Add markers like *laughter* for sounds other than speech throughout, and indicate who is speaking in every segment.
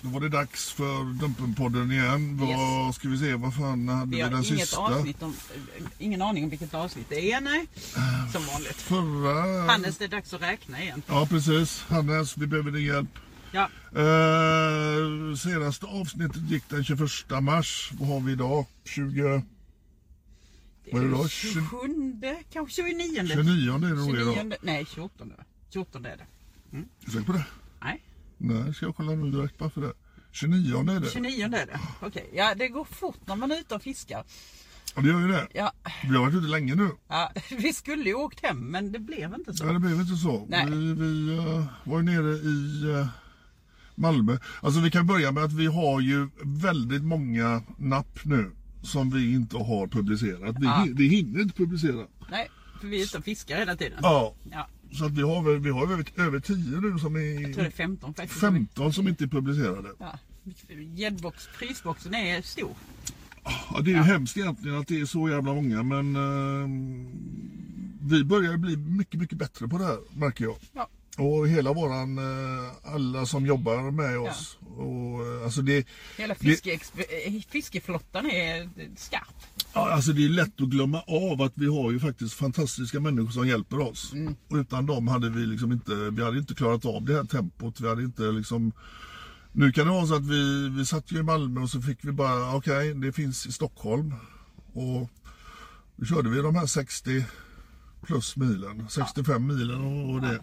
Speaker 1: Då var det dags för Dumpenpodden igen. Vad ska vi se, vad fan hade
Speaker 2: Vi
Speaker 1: vi,
Speaker 2: har
Speaker 1: den
Speaker 2: inget
Speaker 1: sista?
Speaker 2: avsnitt om, eh, ingen aning om vilket avsnitt det är, nej.
Speaker 1: Eh.
Speaker 2: Som vanligt.
Speaker 1: Förra...
Speaker 2: Hannes, det är dags att räkna igen.
Speaker 1: Ja precis, Hannes vi behöver din hjälp.
Speaker 2: Ja,
Speaker 1: Eh, senaste avsnittet gick den 21 mars. Vad har vi idag? 20... Vad är det då? 20...
Speaker 2: 27, kanske 29.
Speaker 1: 29 är det nog idag.
Speaker 2: 29, nej 14. 14 är det.
Speaker 1: Är du säker på det?
Speaker 2: Nej,
Speaker 1: Nej, ska jag kolla nu direkt bara för det. 29 är det.
Speaker 2: 29 är det. Okej, ja det går fort när man är ute och fiskar.
Speaker 1: Ja det gör ju det.
Speaker 2: Ja,
Speaker 1: Vi har varit ute länge nu.
Speaker 2: ja, *laughs* vi skulle ju åkt hem men det blev inte
Speaker 1: Ja,
Speaker 2: så.
Speaker 1: det blev inte så.
Speaker 2: Nej.
Speaker 1: Vi, vi eh, var ju nere i eh, Malmö. Alltså vi kan börja med att vi har ju väldigt många napp nu som vi inte har publicerat. Vi, hi- vi hinner inte publicera.
Speaker 2: Nej, för vi är ute och fiskar hela tiden.
Speaker 1: Ja,
Speaker 2: Ja,
Speaker 1: så att vi har, väl- vi har över, över 10 nu som
Speaker 2: jag tror det är
Speaker 1: är
Speaker 2: 15 faktiskt.
Speaker 1: 15 som inte är publicerade.
Speaker 2: Ja. Gäddbox, prisboxen är stor.
Speaker 1: Ja, det är ju hemskt egentligen att det är så jävla många men eh, vi börjar bli mycket, mycket bättre på det här märker jag.
Speaker 2: Ja.
Speaker 1: Och hela våran, eh, alla som jobbar med oss. Och, eh, alltså det,
Speaker 2: Hela
Speaker 1: det,
Speaker 2: fiskeexp- eh, fiskeflottan är eh, skarp.
Speaker 1: ja, alltså det är lätt att glömma av att vi har ju faktiskt fantastiska människor som hjälper oss. Och utan dem hade vi liksom inte, vi hade inte klarat av det här tempot. Vi hade inte liksom nu kan det vara så att vi, vi satt ju i Malmö och så fick vi bara, okej det finns i Stockholm. Och då körde vi de här 60 plus milen, 65 milen och, och det.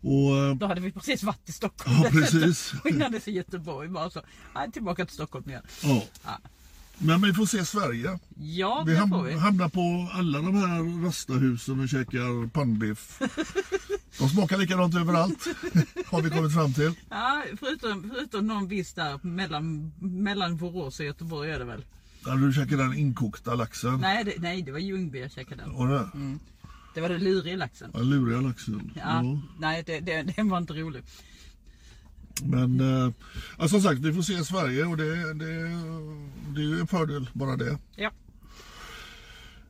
Speaker 1: Och eh,
Speaker 2: Då hade vi precis varit i Stockholm. *laughs*
Speaker 1: Ja, precis.
Speaker 2: Och innan dess i Göteborg bara så. Nej, tillbaka till Stockholm igen.
Speaker 1: ja.
Speaker 2: Ja.
Speaker 1: Men vi får se Sverige.
Speaker 2: Ja,
Speaker 1: Vi
Speaker 2: det får vi.
Speaker 1: ham- hamnar på alla de här rastahusen och
Speaker 2: *laughs*
Speaker 1: käkar pannbiff. De smakar likadant överallt, har vi kommit fram till.
Speaker 2: Ja, förutom, förutom någon viss där mellan, mellan Borås och Göteborg är det väl?
Speaker 1: Där du käkar den inkokta laxen.
Speaker 2: Nej, det, nej, det var Ljungby jag käkade. den.
Speaker 1: Och det,
Speaker 2: Det var den luriga laxen.
Speaker 1: den luriga laxen.
Speaker 2: Ja,
Speaker 1: Ja.
Speaker 2: Nej, det, det, den var inte rolig.
Speaker 1: Men eh, ja, som sagt, vi får se Sverige och det, det, det är ju en fördel bara det.
Speaker 2: Ja.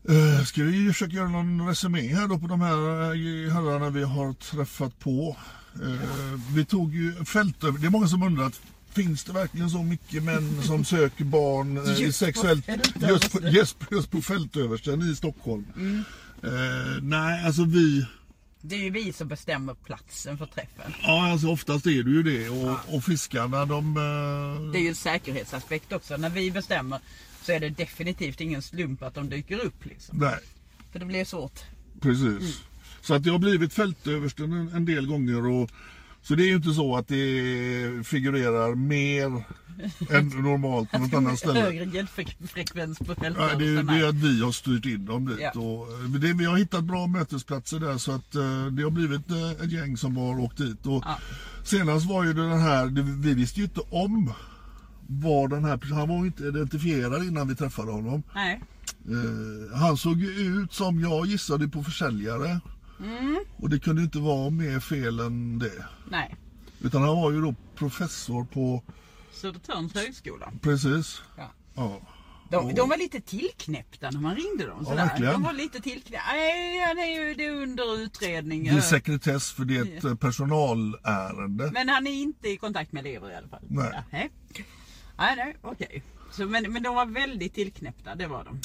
Speaker 1: Eh, ska vi försöka göra någon resumé här då på de här eh, herrarna vi har träffat på. Eh, vi tog ju fältöver... Det är många som undrar att finns det verkligen så mycket
Speaker 2: *laughs*
Speaker 1: män som söker barn eh, i
Speaker 2: Just på
Speaker 1: sexuellt...
Speaker 2: fältöverste.
Speaker 1: Just, på- just, just på fältöversten i Stockholm.
Speaker 2: Mm.
Speaker 1: Eh, nej, alltså vi...
Speaker 2: Det är ju vi som bestämmer platsen för träffen.
Speaker 1: Ja, alltså oftast är det ju det. Och, och fiskarna de... eh,
Speaker 2: Det är ju en säkerhetsaspekt också. När vi bestämmer så är det definitivt ingen slump att de dyker upp. Liksom.
Speaker 1: Nej.
Speaker 2: För det blir svårt.
Speaker 1: Precis.
Speaker 2: Mm.
Speaker 1: Så att det har blivit fältöversten en, en del gånger. Och, så det är ju inte så att det figurerar mer
Speaker 2: *laughs*
Speaker 1: än normalt på något annat ställe.
Speaker 2: Högre gäddfrekvens på
Speaker 1: Ja, det, är-
Speaker 2: fältöversten.
Speaker 1: det är
Speaker 2: här.
Speaker 1: att vi har styrt in dem dit.
Speaker 2: Ja.
Speaker 1: Och, eh, men det, vi har hittat bra mötesplatser där så att eh, det har blivit eh, ett gäng som har åkt dit. Och
Speaker 2: Ja.
Speaker 1: Senast var ju det den här, det, vi visste ju inte om var den här, han var ju inte identifierad innan vi träffade honom.
Speaker 2: Nej.
Speaker 1: Eh, han såg ju ut som jag gissade på försäljare.
Speaker 2: Mm.
Speaker 1: Och det kunde ju inte vara mer fel än det.
Speaker 2: Nej.
Speaker 1: Utan han var ju då professor på,
Speaker 2: Södertörns högskola.
Speaker 1: precis,
Speaker 2: Ja.
Speaker 1: ja.
Speaker 2: De, de var lite tillknäppta när man ringde dem. Sådär.
Speaker 1: verkligen.
Speaker 2: de var lite tillknäppta. Nej, han är ju det är under utredning.
Speaker 1: Det är sekretess för det är ett eh, personalärende.
Speaker 2: Men han är inte i kontakt med elever i alla fall.
Speaker 1: Nej.
Speaker 2: Nej, nej, nej okej. Så, men, men de var väldigt tillknäppta, det var de.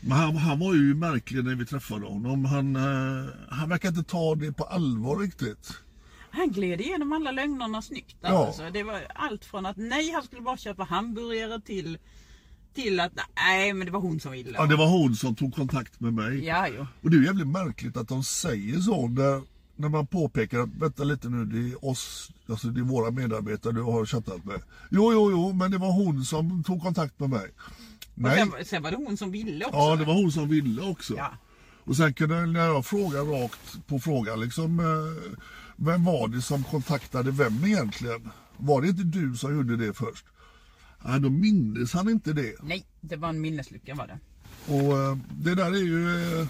Speaker 1: Men han, han var ju märklig när vi träffade honom. Han, eh, han verkar inte ta det på allvar riktigt.
Speaker 2: Han gled igenom alla lögnerna snyggt.
Speaker 1: Ja.
Speaker 2: Alltså. Det var allt från att nej, han skulle bara köpa hamburgare till, till att nej, men det var hon som ville.
Speaker 1: Ja, det var hon som tog kontakt med mig.
Speaker 2: Ja, jo.
Speaker 1: Och det är ju jävligt märkligt att de säger så när, när man påpekar att vänta lite nu, det är oss, alltså det är våra medarbetare du har chattat med. Jo, jo, jo, men det var hon som tog kontakt med mig.
Speaker 2: Och
Speaker 1: Nej,
Speaker 2: sen, sen var det hon som ville också.
Speaker 1: ja det var hon som ville också.
Speaker 2: Ja.
Speaker 1: Och sen kunde, när jag frågade rakt på frågan liksom, eh, vem var det som kontaktade vem egentligen? Var det inte du som gjorde det först? Nej, då mindes han inte det.
Speaker 2: Nej, det var en minneslucka var det.
Speaker 1: Och eh, det där är ju... eh,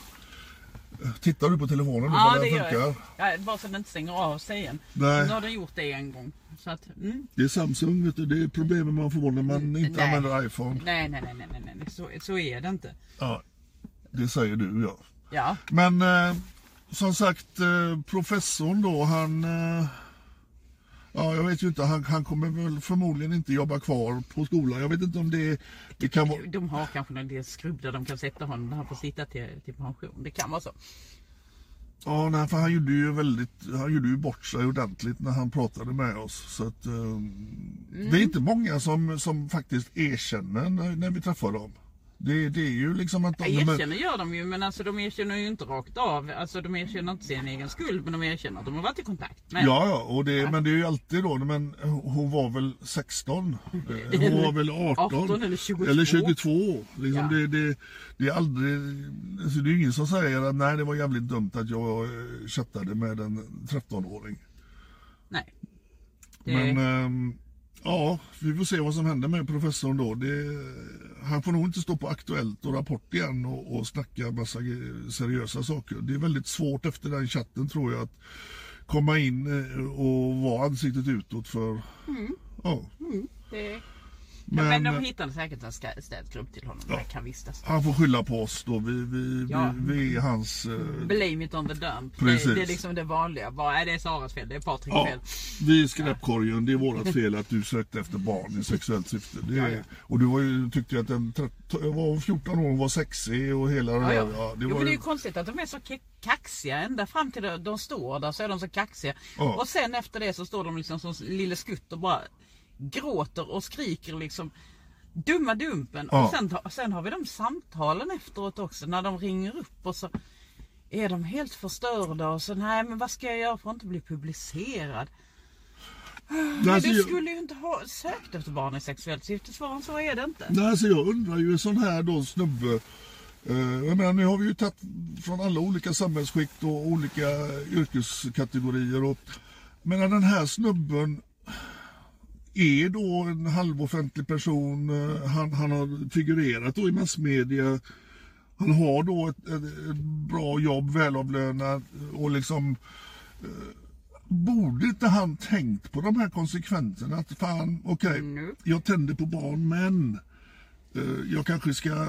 Speaker 1: Tittar du på telefonen då? vad den funkar?
Speaker 2: jag. Ja, bara så den inte stänger av sig igen.
Speaker 1: Nej.
Speaker 2: Nu har den gjort det en gång. Så att, mm.
Speaker 1: Det är Samsung, vet du. Det är problemen man får när man inte
Speaker 2: nej.
Speaker 1: använder iPhone.
Speaker 2: Nej, nej, nej, nej, nej, nej. Så, så är det inte.
Speaker 1: Ja, det säger du ja.
Speaker 2: Ja,
Speaker 1: Men eh, som sagt, eh, professorn då, han... Eh, ja, jag vet ju inte. Han, han kommer väl förmodligen inte jobba kvar på skolan. Jag vet inte om det, det kan vara...
Speaker 2: de har kanske någon del skrubb där de kan sätta honom när han får sitta till, till pension. Det kan vara så.
Speaker 1: Ja, nej, för han gjorde ju väldigt... Han gjorde ju bort sig ordentligt när han pratade med oss. Så att, eh,
Speaker 2: Mm.
Speaker 1: Det är inte många som, som faktiskt erkänner när, när vi träffar dem. Det, det är ju liksom att de...
Speaker 2: Ja, Erkänner gör de ju, men alltså, de erkänner ju inte rakt av. Alltså, de erkänner inte sin egen skuld, men de erkänner att de har varit i kontakt med
Speaker 1: Ja, ja, och det, men det är ju alltid då, men hon var väl 16? Eh, Hon var väl 18?
Speaker 2: 18 eller 22.
Speaker 1: Eller 22. Liksom
Speaker 2: Ja.
Speaker 1: det, det, det är aldrig, alltså det är ju ingen som säger att nej det var jävligt dumt att jag eh, chattade med en 13-åring.
Speaker 2: Nej. Det,
Speaker 1: Men ehm, ja, vi får se vad som händer med professorn då. Det, han får nog inte stå på Aktuellt och Rapport igen och, och snacka massa ge- seriösa saker. Det är väldigt svårt efter den chatten tror jag att komma in eh, och vara ansiktet utåt för... Ja,
Speaker 2: det, Mm. men,
Speaker 1: men, eh,
Speaker 2: de hittade säkert en ska- städskrubb till honom. Där kan vistas.
Speaker 1: han får skylla på oss då. Vi, vi,
Speaker 2: Ja.
Speaker 1: vi, vi är hans... eh,
Speaker 2: Blame it on the dump. Det,
Speaker 1: Precis.
Speaker 2: det är liksom det vanliga. Bara, är det är Saras fel, det är Patriks
Speaker 1: Ja,
Speaker 2: fel.
Speaker 1: vi är skräpkorgen. Det är vårt fel att du sökte efter barn i sexuellt syfte. Det är, och du var ju, tyckte ju att den trett- var 14 år och var sexig och hela det
Speaker 2: Ja,
Speaker 1: där.
Speaker 2: ja.
Speaker 1: Ja, det
Speaker 2: jo,
Speaker 1: var
Speaker 2: men det är
Speaker 1: ju,
Speaker 2: ju konstigt att de är så ke- kaxiga ända fram till de, de står där så är de så kaxiga.
Speaker 1: Ja.
Speaker 2: Och sen efter det så står de liksom som lille skutt och bara gråter och skriker liksom dumma dumpen.
Speaker 1: Ja.
Speaker 2: Och sen, ta- sen har vi de samtalen efteråt också när de ringer upp och så är de helt förstörda och så nej men vad ska jag göra för att inte bli publicerad? Men
Speaker 1: alltså,
Speaker 2: du
Speaker 1: jag,
Speaker 2: skulle ju inte ha sökt efter barn i sexuellt syfte, svarar så är det inte.
Speaker 1: nej, alltså, jag undrar ju en sån här då snubbe. eh, jag menar, nu har vi ju tagit från alla olika samhällsskikt och olika yrkeskategorier. Och, men den här snubben är då en halvoffentlig person. eh, Han, han har figurerat då i massmedia. Han har då ett, ett, ett bra jobb, välavlönat och liksom... eh, Borde inte han tänkt på de här konsekvenserna? Att fan, okej, jag tänder på barn men eh, jag kanske ska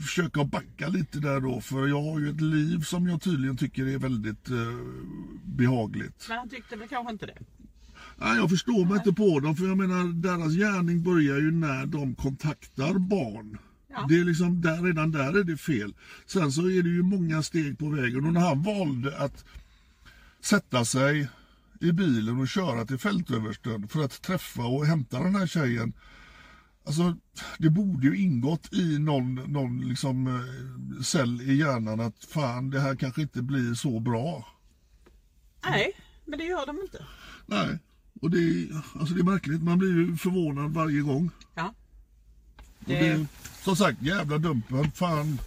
Speaker 1: försöka backa lite där då för jag har ju ett liv som jag tydligen tycker är väldigt eh, behagligt.
Speaker 2: Men han tyckte väl kanske inte det.
Speaker 1: Nej, jag förstår mig inte på dem, för jag menar deras gärning börjar ju när de kontaktar barn. Det är liksom där, redan där är det fel. Sen så är det ju många steg på vägen och när han valde att sätta sig i bilen och köra till fältöversten för att träffa och hämta den här tjejen. Alltså, det borde ju ingått i någon, någon liksom eh, cell i hjärnan att fan, det här kanske inte blir så bra.
Speaker 2: Nej, men det gör de inte.
Speaker 1: Nej, och det, alltså det är märkligt. Man blir ju förvånad varje gång.
Speaker 2: Ja.
Speaker 1: Och det, som sagt, jävla dumpen. Fan,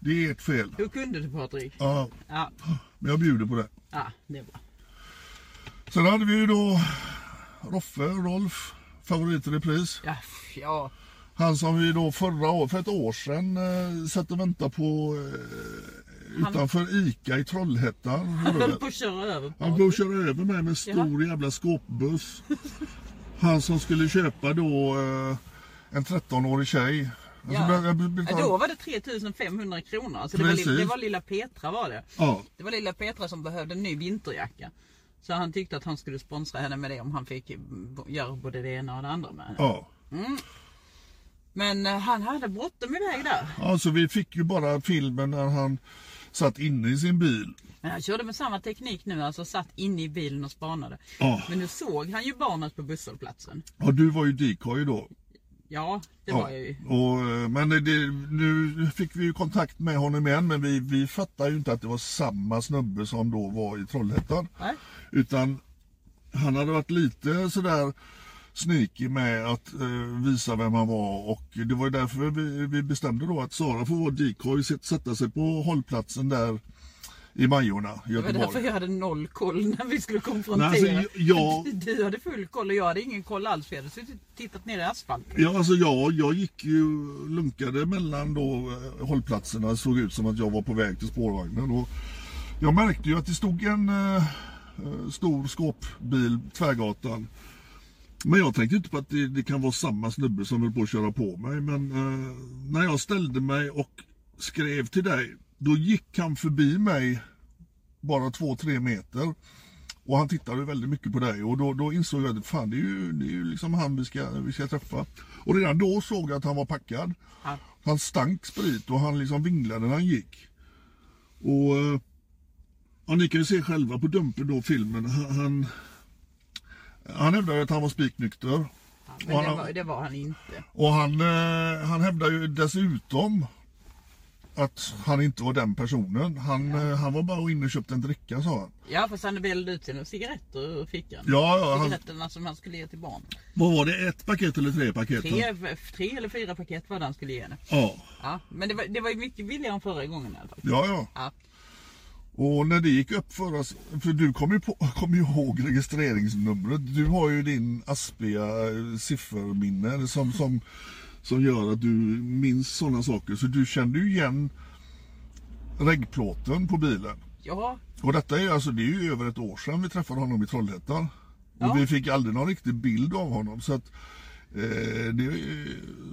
Speaker 1: det är ert fel.
Speaker 2: Hur kunde du Patrik?
Speaker 1: Ja,
Speaker 2: Ja,
Speaker 1: men jag bjuder på det.
Speaker 2: ja det är bra.
Speaker 1: Sen hade vi ju då Roffe, Rolf, favorit i repris.
Speaker 2: Ja, f- ja.
Speaker 1: Han som vi då förra året, för ett år sedan, eh, satt och väntade på eh, Utanför ICA i Trollhättan. hörde
Speaker 2: Han
Speaker 1: jag.
Speaker 2: pushar över på
Speaker 1: Han
Speaker 2: oss.
Speaker 1: bor kör över mig med en stor jävla skåpbuss. Han som skulle köpa då eh, en 13-årig tjej. Alltså,
Speaker 2: Ja.
Speaker 1: men jag be- betal-
Speaker 2: Ja, då var det 3500 kronor. Alltså det, var,
Speaker 1: Precis.
Speaker 2: li- det var lilla Petra var det.
Speaker 1: Ja.
Speaker 2: Det var lilla Petra som behövde en ny vinterjacka. Så han tyckte att han skulle sponsra henne med det om han fick mm, bo- göra både det ena och det andra med henne.
Speaker 1: Ja.
Speaker 2: Men eh, han hade bråttom iväg där.
Speaker 1: ja, så Alltså, vi fick ju bara filmen när han satt inne i sin bil.
Speaker 2: Men han körde med samma teknik nu, alltså satt inne i bilen och spanade.
Speaker 1: Ja.
Speaker 2: Men nu såg han ju barnet på busshållplatsen.
Speaker 1: Ja, du var ju decoy då.
Speaker 2: Ja, det
Speaker 1: Ja.
Speaker 2: var jag ju.
Speaker 1: Och, eh, men det, nu fick vi ju kontakt med honom igen, men vi, vi fattade ju inte att det var samma snubbe som då var i Trollhättan.
Speaker 2: Nej.
Speaker 1: Utan han hade varit lite sådär sneaky med att eh, visa vem han var och det var ju därför vi, vi bestämde då att Sara får vara decoy, sit- sätta sig på hållplatsen där i Majorna,
Speaker 2: Det var
Speaker 1: Göteborg.
Speaker 2: därför jag hade noll koll när vi skulle konfrontera.
Speaker 1: Nej, alltså,
Speaker 2: *laughs*
Speaker 1: jag-
Speaker 2: Du hade full koll och jag hade ingen koll alls för jag hade suttit och tittat ner i asfalten.
Speaker 1: Ja, alltså jag, jag gick ju lunkade mellan då eh, hållplatserna. Det såg ut som att jag var på väg till spårvagnen. Och jag märkte ju att det stod en eh, eh, stor skåpbil tvärgatan. Men jag tänkte inte på att det, det kan vara samma snubbe som höll på att köra på mig. Men eh, när jag ställde mig och skrev till dig, då gick han förbi mig bara två, tre meter. Och han tittade väldigt mycket på dig och då, då insåg jag att fan det är ju, det är ju liksom han vi ska, vi ska träffa. Och redan då såg jag att han var packad.
Speaker 2: Ja.
Speaker 1: Han stank sprit och han liksom vinglade när han gick. Och eh, ja, ni kan ju se själva på Dumpen då filmen. Han, han, han hävdade att han var spiknykter.
Speaker 2: Men det
Speaker 1: han-
Speaker 2: var, det var han inte.
Speaker 1: Och han, eh, han hävdar ju dessutom att han inte var den personen. Han, eh, han var bara inne och köpte en dricka sa han.
Speaker 2: Ja fast han vällde ut sina cigaretter ur fickan.
Speaker 1: Ja, ja, han-
Speaker 2: Cigaretterna som han skulle ge till barn.
Speaker 1: Vad var det? Ett paket eller tre paket?
Speaker 2: Tre, tre eller fyra paket var det han skulle ge henne.
Speaker 1: Ja.
Speaker 2: Ja, men det var, det var ju mycket billigare än förra gången i alla fall.
Speaker 1: Ja, ja.
Speaker 2: Ja.
Speaker 1: Och när det gick upp för oss, för du kommer ju, på, *laughs* kom ju ihåg registreringsnumret. Du har ju din aspiga eh, sifferminne som, som, som gör att du minns sådana saker. Så du kände ju igen reggplåten på bilen.
Speaker 2: Ja,
Speaker 1: Och detta är alltså, det är ju över ett år sedan vi träffade honom i Trollhättan.
Speaker 2: Ja.
Speaker 1: Och vi fick aldrig någon riktig bild av honom. Så att, eh, det, är-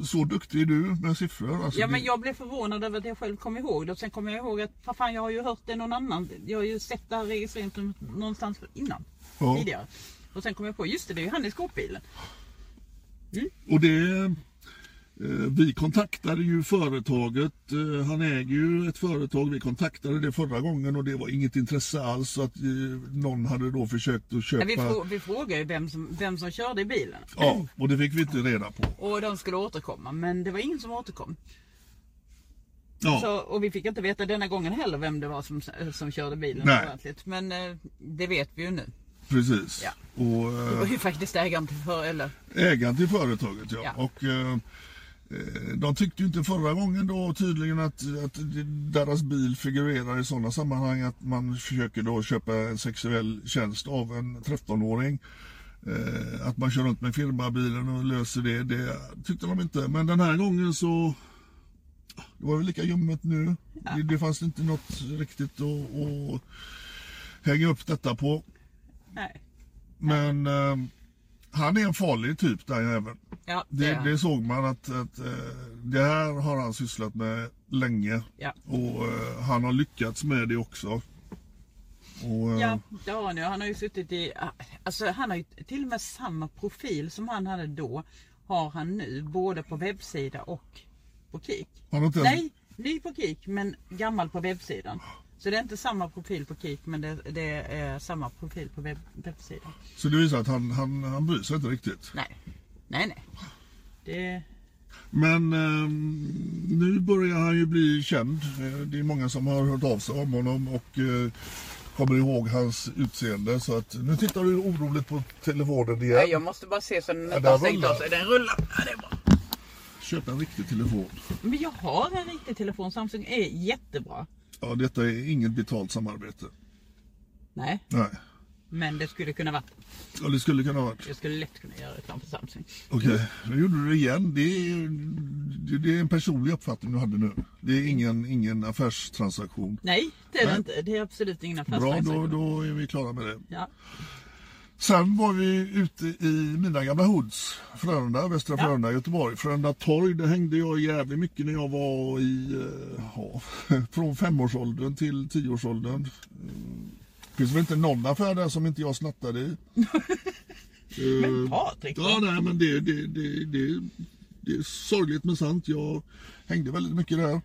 Speaker 1: så duktig är du med siffror. Alltså
Speaker 2: ja,
Speaker 1: det-
Speaker 2: men jag blev förvånad över att jag själv kom ihåg det. Och sen kom jag ihåg att vad fan, jag har ju hört det någon annan. Jag har ju sett det här registreringsnumret någonstans innan.
Speaker 1: Ja.
Speaker 2: Tidigare. Och sen kom jag på, just det, det är ju han i skåpbilen.
Speaker 1: Och det... eh, Vi kontaktade ju företaget. eh, Han äger ju ett företag. Vi kontaktade det förra gången och det var inget intresse alls. Så att eh, någon hade då försökt att
Speaker 2: Ja, vi, frå-
Speaker 1: köpa...
Speaker 2: vi frågade ju vem som, vem som körde i bilen.
Speaker 1: Ja, och det fick vi inte reda på.
Speaker 2: Och de skulle återkomma, men det var ingen som återkom.
Speaker 1: Ja,
Speaker 2: Så, och vi fick inte veta denna gången heller vem det var som, som körde bilen
Speaker 1: Nej.
Speaker 2: ordentligt. Men eh, det vet vi ju nu.
Speaker 1: precis. Och
Speaker 2: Det
Speaker 1: eh,
Speaker 2: var ju faktiskt ägaren till för, eller
Speaker 1: ägaren till företaget ja.
Speaker 2: Ja.
Speaker 1: Och, eh, eh, de tyckte ju inte förra gången då tydligen att, att deras bil figurerar i sådana sammanhang att man försöker då köpa en sexuell tjänst av en 13-åring. Eh, att man kör runt med firmabilen och löser det, det tyckte de inte. Men den här gången så det var väl lika ljummet nu. Det, det fanns inte något riktigt att, att hänga upp detta på.
Speaker 2: Nej.
Speaker 1: Men eh, han är en farlig typ där även.
Speaker 2: Ja, det,
Speaker 1: Det,
Speaker 2: är
Speaker 1: det
Speaker 2: han.
Speaker 1: såg man att, att eh, det här har han sysslat med länge.
Speaker 2: Ja.
Speaker 1: Och eh, han har lyckats med det också. Och, eh,
Speaker 2: Ja, det har han ju. Han har ju suttit i... Alltså han har ju till och med samma profil som han hade då. Har han nu både på webbsida och på Kik.
Speaker 1: Han har inte ens-
Speaker 2: Nej, ny på Kik men gammal på webbsidan. Så det är inte samma profil på Kik men det, det är samma profil på webb, webbsidan.
Speaker 1: Så det visar att han, han, han bryr sig inte riktigt.
Speaker 2: Nej, nej, nej. Det...
Speaker 1: Men eh, nu börjar han ju bli känd. Eh, Det är många som har hört av sig om honom och eh, kommer ihåg hans utseende. Så att, nu tittar du oroligt på telefonen igen.
Speaker 2: Nej, jag måste bara se så den
Speaker 1: Ja,
Speaker 2: nästan
Speaker 1: där
Speaker 2: har stängt av
Speaker 1: rullar.
Speaker 2: sig. Den rullar. Ja, det är bra.
Speaker 1: Köp en riktig telefon.
Speaker 2: Men jag har en riktig telefon. Samsung är jättebra.
Speaker 1: Ja, detta är inget betalt samarbete.
Speaker 2: Nej.
Speaker 1: Nej.
Speaker 2: Men det skulle kunna vara.
Speaker 1: Ja, det skulle kunna ha varit.
Speaker 2: Jag skulle lätt kunna göra reklam för Samsung.
Speaker 1: Okej, nu gjorde du det igen. Det är, det, det är en personlig uppfattning du hade nu. Det är ingen, ingen affärstransaktion.
Speaker 2: Nej, det är det
Speaker 1: Nej.
Speaker 2: inte. Det är absolut ingen
Speaker 1: Bra, då,
Speaker 2: affärstransaktion.
Speaker 1: då är vi klara med det.
Speaker 2: Ja.
Speaker 1: Sen var vi ute i mina gamla hoods. Frölunda, Västra Frölunda, Göteborg. Frölunda torg, det hängde jag jävligt mycket när jag var i... eh, Ja, *laughs* från femårsåldern till tioårsåldern. Mm. finns väl inte någon affär där som inte jag snattade i. Mm.
Speaker 2: Men Patrik,
Speaker 1: Ja, nej, men det, det, det, det, det är sorgligt men sant. Jag hängde väldigt mycket där.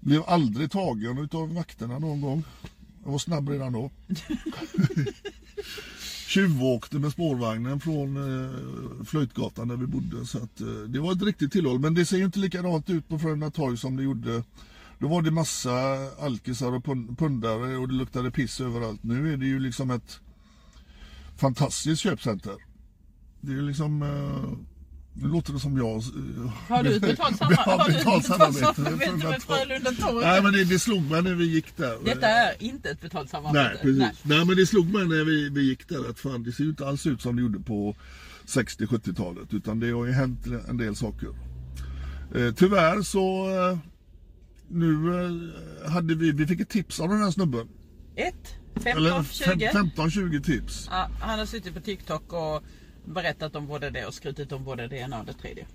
Speaker 1: Blev aldrig tagen utav vakterna någon gång. Jag var snabb redan då. Tjuvåkte med spårvagnen från eh, Flöjtgatan där vi bodde. Så att, eh, det var ett riktigt tillhåll. Men det ser ju inte likadant ut på Frölunda torg som det gjorde. Då var det massa alkisar och pund- pundare och det luktade piss överallt. Nu är det ju liksom ett fantastiskt köpcenter. Det är liksom... Eh, nu låter det som jag... eh,
Speaker 2: har du ett
Speaker 1: *laughs*
Speaker 2: betalt samma- *laughs* har
Speaker 1: har
Speaker 2: du ett
Speaker 1: betalt
Speaker 2: betalt
Speaker 1: samarbete
Speaker 2: samarbete med Frölunda Torg?
Speaker 1: Nej men det, det slog mig när vi gick där.
Speaker 2: detta är inte ett betalt samarbete.
Speaker 1: Nej precis. Nej. men det slog mig när vi, vi gick där att fan det ser ju inte alls ut som det gjorde på 60-70-talet. Utan det har ju hänt en del saker. Eh, tyvärr så... Eh, nu eh, hade vi... Vi fick ett tips av den här snubben.
Speaker 2: Ett, 15,
Speaker 1: fem-
Speaker 2: 20.
Speaker 1: 15-20 tips.
Speaker 2: Ja, han har suttit på TikTok och berättat om både det och skrutit om både det ena och det tredje.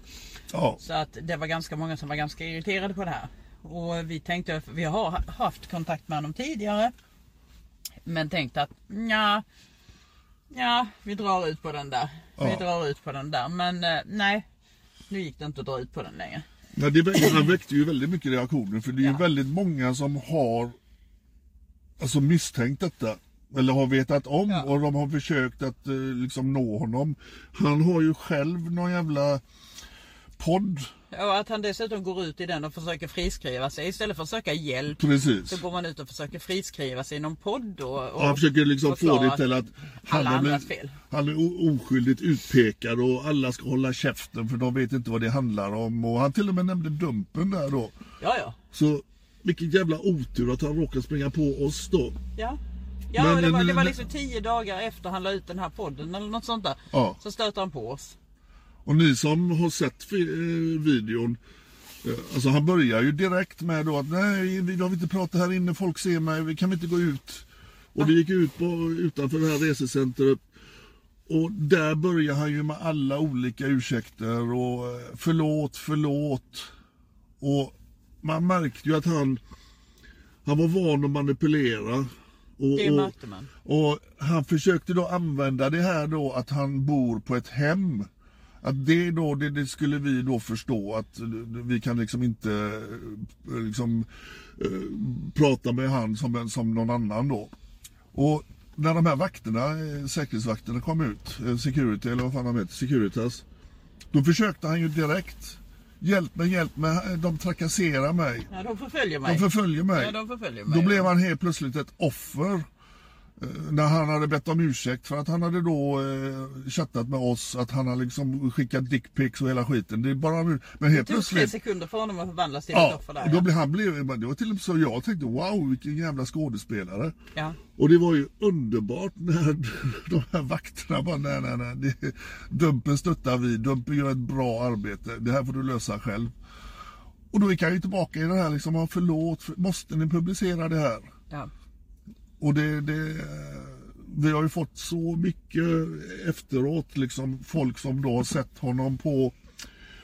Speaker 1: Ja.
Speaker 2: Så att det var ganska många som var ganska irriterade på det här. Och vi tänkte, för vi har haft kontakt med honom tidigare. Men tänkte att ja, ja vi drar ut på den där. Vi
Speaker 1: Ja.
Speaker 2: drar ut på den där. Men eh, nej, nu gick det inte att dra ut på den längre.
Speaker 1: Ja, det
Speaker 2: *clears throat*
Speaker 1: vä- han väckte ju väldigt mycket reaktioner för det är ju
Speaker 2: Ja.
Speaker 1: väldigt många som har alltså, misstänkt detta. Eller har vetat om
Speaker 2: Ja.
Speaker 1: och de har försökt att eh, liksom nå honom. Han har ju själv någon jävla podd.
Speaker 2: Och att han dessutom går ut i den och försöker friskriva sig istället för att söka hjälp.
Speaker 1: Precis.
Speaker 2: Så går man ut och försöker friskriva sig i någon podd och, och
Speaker 1: Och han försöker liksom få
Speaker 2: förklara
Speaker 1: det till att han
Speaker 2: alla
Speaker 1: är,
Speaker 2: andras
Speaker 1: väl-
Speaker 2: fel.
Speaker 1: han är o- oskyldigt utpekad och alla ska hålla käften för de vet inte vad det handlar om. Och han till och med nämnde Dumpen där då.
Speaker 2: Ja, ja.
Speaker 1: Så vilken jävla otur att han råkar springa på oss då.
Speaker 2: Ja, ja
Speaker 1: Men-
Speaker 2: och det,
Speaker 1: men-
Speaker 2: var, det
Speaker 1: men-
Speaker 2: var liksom tio dagar efter han la ut den här podden eller något sånt där.
Speaker 1: Ja.
Speaker 2: Så stöter han på oss.
Speaker 1: Och ni som har sett fi- eh, videon, eh, alltså han börjar ju direkt med då att nej, vi- jag vill inte prata här inne, folk ser mig, vi kan vi inte gå ut? Och vi gick ut på, utanför det här resecentret och där börjar han ju med alla olika ursäkter och eh, förlåt, förlåt. Och man märkte ju att han, han var van att manipulera. Och,
Speaker 2: Det
Speaker 1: och,
Speaker 2: märkte man.
Speaker 1: och han försökte då använda det här då att han bor på ett hem. Att det då, det, det skulle vi då förstå att eh, vi kan liksom inte eh, liksom eh, prata med han som, en- som någon annan då. Och när de här vakterna, eh, säkerhetsvakterna kom ut, eh, security eller vad fan de heter, Securitas. Då försökte han ju direkt, hjälp mig, hjälp mig, de trakasserar mig.
Speaker 2: Ja, de förföljer mig.
Speaker 1: De förföljer mig.
Speaker 2: Ja, de förföljer mig.
Speaker 1: Då blev han helt plötsligt ett offer. eh, När han hade bett om ursäkt för att han hade då eh, chattat med oss att han har liksom skickat dickpics och hela skiten. Det är bara nu. Men helt
Speaker 2: det tog tre
Speaker 1: plötsligt.
Speaker 2: sekunder för honom att förvandlas till ett
Speaker 1: Ja,
Speaker 2: offer där.
Speaker 1: då
Speaker 2: Ja.
Speaker 1: blev han blev, men det var till och med så jag tänkte wow vilken jävla skådespelare.
Speaker 2: Ja.
Speaker 1: Och det var ju underbart när *laughs* de här vakterna bara nej nej nej. Det, dumpen stöttar vi, Dumpen gör ett bra arbete. Det här får du lösa själv. Och då gick han ju tillbaka i det här liksom, "Ja, förlåt, för- måste ni publicera det här?
Speaker 2: Ja.
Speaker 1: Och det, det, vi har ju fått så mycket efteråt, liksom folk som då har sett honom på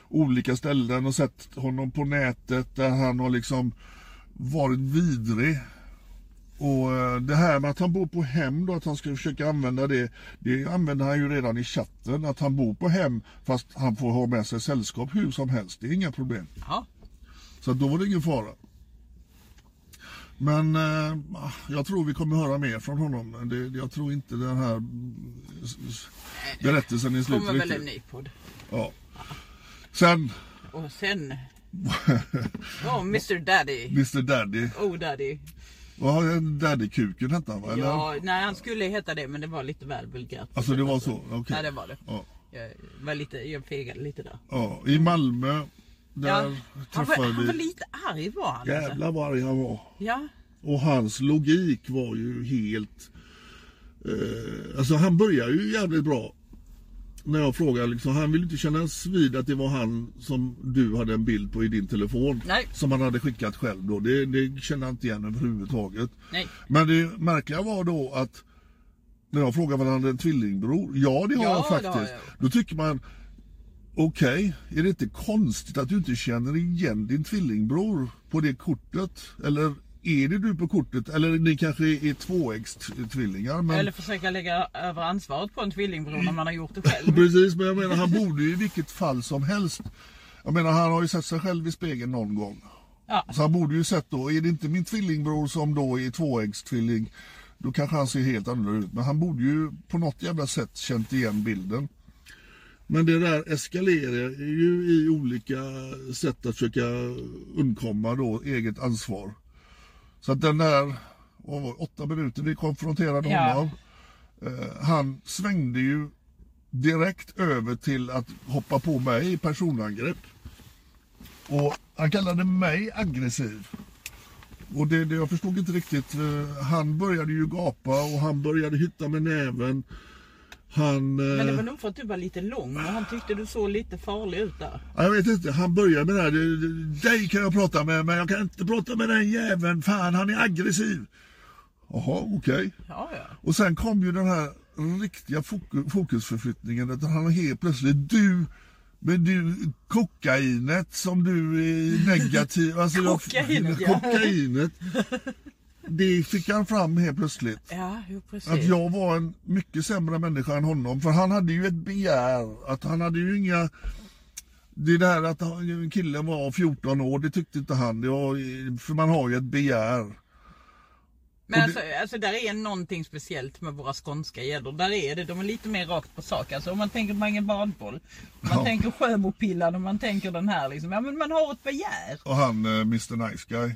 Speaker 1: olika ställen och sett honom på nätet där han har liksom varit vidrig. Och eh, det här med att han bor på hem då, att han ska försöka använda det. Det använder han ju redan i chatten, att han bor på hem fast han får ha med sig sällskap hur som helst. Det är inga problem.
Speaker 2: ja.
Speaker 1: Så att då var det ingen fara. Men eh, jag tror vi kommer höra mer från honom. Det, jag tror inte den här mm, s- s- berättelsen är slut
Speaker 2: Kommer väl en
Speaker 1: riktigt.
Speaker 2: ny podd.
Speaker 1: Ja. Sen,
Speaker 2: Och
Speaker 1: *laughs*
Speaker 2: sen... Ja, Mr Daddy.
Speaker 1: Mr Daddy.
Speaker 2: Oh Daddy.
Speaker 1: Vad har jag- Daddy-kuken hette han va? Eller?
Speaker 2: Ja, nej han skulle heta det men det var lite väl vulgärt.
Speaker 1: Alltså det var så? Okej.
Speaker 2: Ja det var det.
Speaker 1: Ja.
Speaker 2: Jag, var lite, jag fegade lite där.
Speaker 1: ja. I Malmö,
Speaker 2: Ja.
Speaker 1: där
Speaker 2: Han, var,
Speaker 1: träffade
Speaker 2: han var
Speaker 1: vi...
Speaker 2: lite arg var han. alltså.
Speaker 1: Jävlar vad arg han var.
Speaker 2: Ja.
Speaker 1: Och hans logik var ju helt Eh, alltså han börjar ju jävligt bra. När jag frågar liksom, han vill inte kännas vid att det var han som du hade en bild på i din telefon.
Speaker 2: Nej.
Speaker 1: Som han hade skickat själv då. Det, det kände han inte igen överhuvudtaget.
Speaker 2: Nej.
Speaker 1: Men det märkliga var då att när jag frågade om han hade en tvillingbror. Ja, det har
Speaker 2: Ja,
Speaker 1: han
Speaker 2: det
Speaker 1: faktiskt.
Speaker 2: har jag.
Speaker 1: Då tycker man, okej, är det inte konstigt att du inte känner igen din tvillingbror på det kortet? Eller är det du på kortet? Eller ni kanske är tvåägstvillingar? Men...
Speaker 2: Eller försöka lägga över ansvaret på en tvillingbror när man har
Speaker 1: *laughs*
Speaker 2: gjort det själv.
Speaker 1: Precis, men jag menar han borde ju i vilket fall som helst. Jag menar han har ju sett sig själv i spegeln någon gång.
Speaker 2: Ja.
Speaker 1: Så han borde ju sett då, är det inte min tvillingbror som då är tvåäggstvilling, då kanske han ser helt annorlunda ut. Men han borde ju på något jävla sätt känt igen bilden. Men det där eskalerar ju i olika sätt att försöka undkomma då eget ansvar. Så att den där, vad var det, åtta minuter vi konfronterade
Speaker 2: Ja.
Speaker 1: honom. Eh, han svängde ju direkt över till att hoppa på mig i personangrepp. Och han kallade mig aggressiv. Och det, det, jag förstod inte riktigt. eh, Han började ju gapa och han började hytta med näven. Han... eh,
Speaker 2: Men det var nog för att du var lite lång och han tyckte du såg lite farlig ut där.
Speaker 1: Ja, Jag vet inte, han börjar med det här. "Du- du- Dig kan jag prata med, men jag kan inte prata med den jäveln. Fan, han är aggressiv. Jaha, okej.
Speaker 2: Ja, ja.
Speaker 1: Och sen kom ju den här riktiga foku- fokusförflyttningen. Att han helt plötsligt, du, men du, kokainet som du är
Speaker 2: *laughs*
Speaker 1: negativ. Alltså jag-
Speaker 2: Kokainet, ja.
Speaker 1: kokainet. Det fick han fram helt plötsligt.
Speaker 2: Ja, jo, precis.
Speaker 1: Att jag var en mycket sämre människa än honom. För han hade ju ett begär. Att han hade ju inga... Det är det här att han- killen var 14 år, det tyckte inte han. Det var, för man har ju ett begär.
Speaker 2: Men alltså, alltså där är någonting speciellt med våra skånska gäddor. Där är det, de är lite mer rakt på sak. Alltså om man tänker Mange Badboll, om man
Speaker 1: Ja.
Speaker 2: tänker Sjöbopillan och man tänker den här liksom. Ja men man har ett begär.
Speaker 1: Och han eh, Mr Nice Guy.